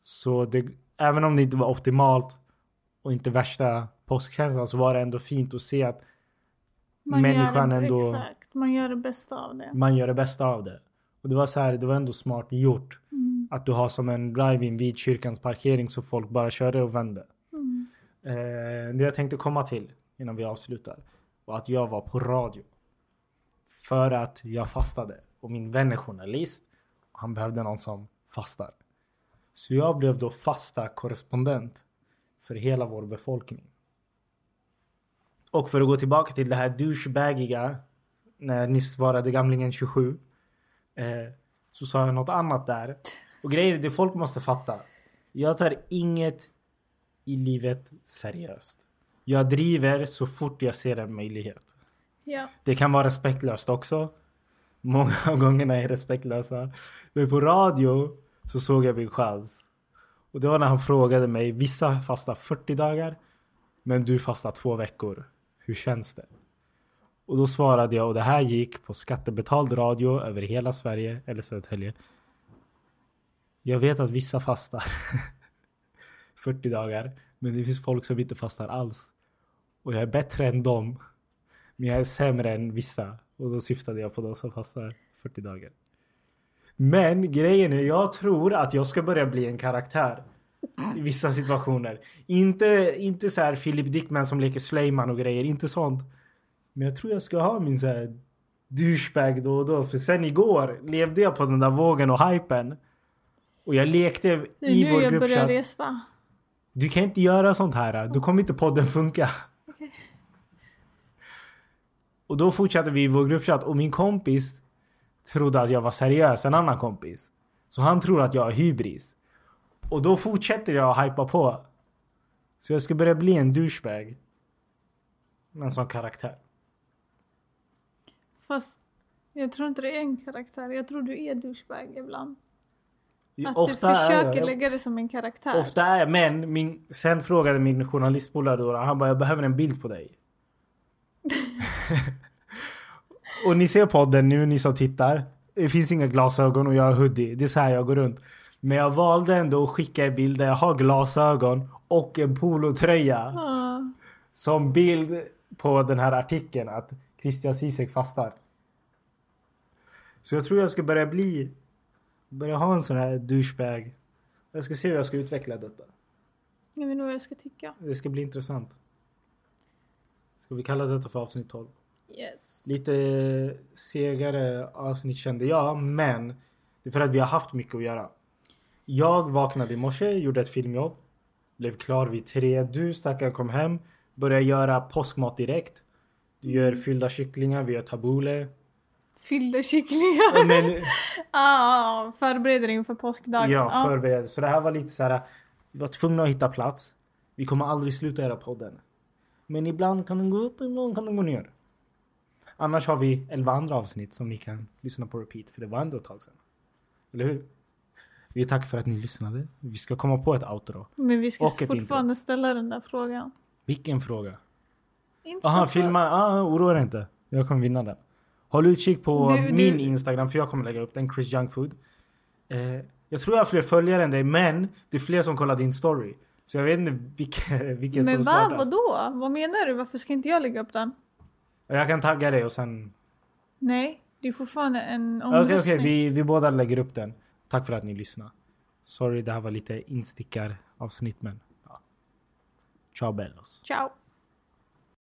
A: Så det, även om det inte var optimalt och inte värsta påskkänslan så var det ändå fint att se att
B: Man
A: Människan
B: gör det,
A: ändå- Mm.
B: Exakt, man gör det bästa av det.
A: man gör det bästa av det. Och det var så här, det var ändå smart gjort.
B: Mm.
A: Att du har som en drive-in vid kyrkans parkering så folk bara körde och vände.
B: Mm.
A: Eh, det jag tänkte komma till innan vi avslutar var att jag var på radio. För att jag fastade och min vän är journalist och han behövde någon som fastar. Så jag blev då fasta korrespondent för hela vår befolkning. Och för att gå tillbaka till det här douchebagiga när nyss svarade gamlingen 27 eh, så sa jag något annat där. Och grejer är det folk måste fatta. Jag tar inget i livet seriöst. Jag driver så fort jag ser en möjlighet.
B: Ja.
A: Det kan vara respektlöst också. Många av gångerna är respektlösa. Men på radio så såg jag min chans. Och det var när han frågade mig, vissa fastar 40 dagar men du fastar två veckor. Hur känns det? Och då svarade jag och det här gick på skattebetald radio över hela Sverige eller Södertälje. Jag vet att vissa fastar 40 dagar men det finns folk som inte fastar alls. Och jag är bättre än dem. Men jag är sämre än vissa. Och då syftade jag på de som fastar 40 dagar. Men grejen är, jag tror att jag ska börja bli en karaktär. I vissa situationer. Inte, inte så här Philip Dickman som leker Sleiman och grejer. Inte sånt. Men jag tror jag ska ha min så här douchebag då och då. För sen igår levde jag på den där vågen och hypen. Och jag lekte
B: Det
A: i
B: är nu
A: vår
B: jag börjar
A: gruppchatt.
B: respa.
A: Du kan inte göra sånt här. Då kommer inte podden funka. Och då fortsatte vi i vår gruppchatt och min kompis trodde att jag var seriös, en annan kompis. Så han tror att jag har hybris. Och då fortsätter jag att hypa på. Så jag ska börja bli en douchebag. Men som karaktär.
B: Fast jag tror inte det är en karaktär. Jag tror du är douchebag ibland. Att du
A: Ofta är
B: försöker
A: jag-
B: lägga det som en karaktär.
A: Ofta är jag, men min, sen frågade min journalistpolare då, han bara jag behöver en bild på dig. och ni ser podden nu, ni som tittar. Det finns inga glasögon och jag har hoodie. Det är så här jag går runt. Men jag valde ändå att skicka en bild där jag har glasögon och en polotröja
B: Ja.
A: som bild på den här artikeln att Christian Zizek fastar. Så jag tror jag ska börja bli, börja ha en sån här douchebag. Jag ska se hur jag ska utveckla detta.
B: Jag vet inte vad jag ska tycka.
A: Det ska bli intressant. Ska vi kalla detta för avsnitt 12?
B: Yes.
A: Lite segare avsnitt kände jag, men det är för att vi har haft mycket att göra. Jag vaknade i morse, gjorde ett filmjobb, blev klar vid tre. Du stackaren kom hem, började göra påskmat direkt. Du gör fyllda kycklingar, vi gör tabbouleh.
B: Fyllda kycklingar.
A: Men
B: Ah, förbereder inför påskdagen.
A: Ja,
B: Ah.
A: förberedelse. Så det här var lite så här. Vi var tvungna att hitta plats. Vi kommer aldrig sluta göra podden. Men ibland kan den gå upp, ibland kan den gå ner. Annars har vi elva andra avsnitt som ni kan lyssna på repeat. För det var ändå ett tag sedan. Eller hur? Vi tackar för att ni lyssnade. Vi ska komma på ett outro.
B: Men vi ska
A: Och ett
B: fortfarande ställa den där frågan.
A: Vilken fråga?
B: Insta-
A: Aha, filma. Ah, oroa dig inte. Jag kommer vinna den. Håll utkik på
B: Du- du-
A: min Instagram för jag kommer lägga upp den. Chris Junkfood. Eh, jag tror jag har fler följare än dig men det är fler som kollar din story. Så jag vet inte vilken, vilken
B: Men
A: som
B: va,
A: smartast.
B: vadå? Vad menar du? Varför ska inte jag lägga upp den?
A: Jag kan tagga dig och sen...
B: Nej, det är fortfarande en
A: Okej,
B: omröstning.
A: okej, vi, vi båda lägger upp den. Tack för att ni lyssnade. Sorry, det här var lite instickaravsnitt men... Ja. Ciao bellos.
B: Ciao.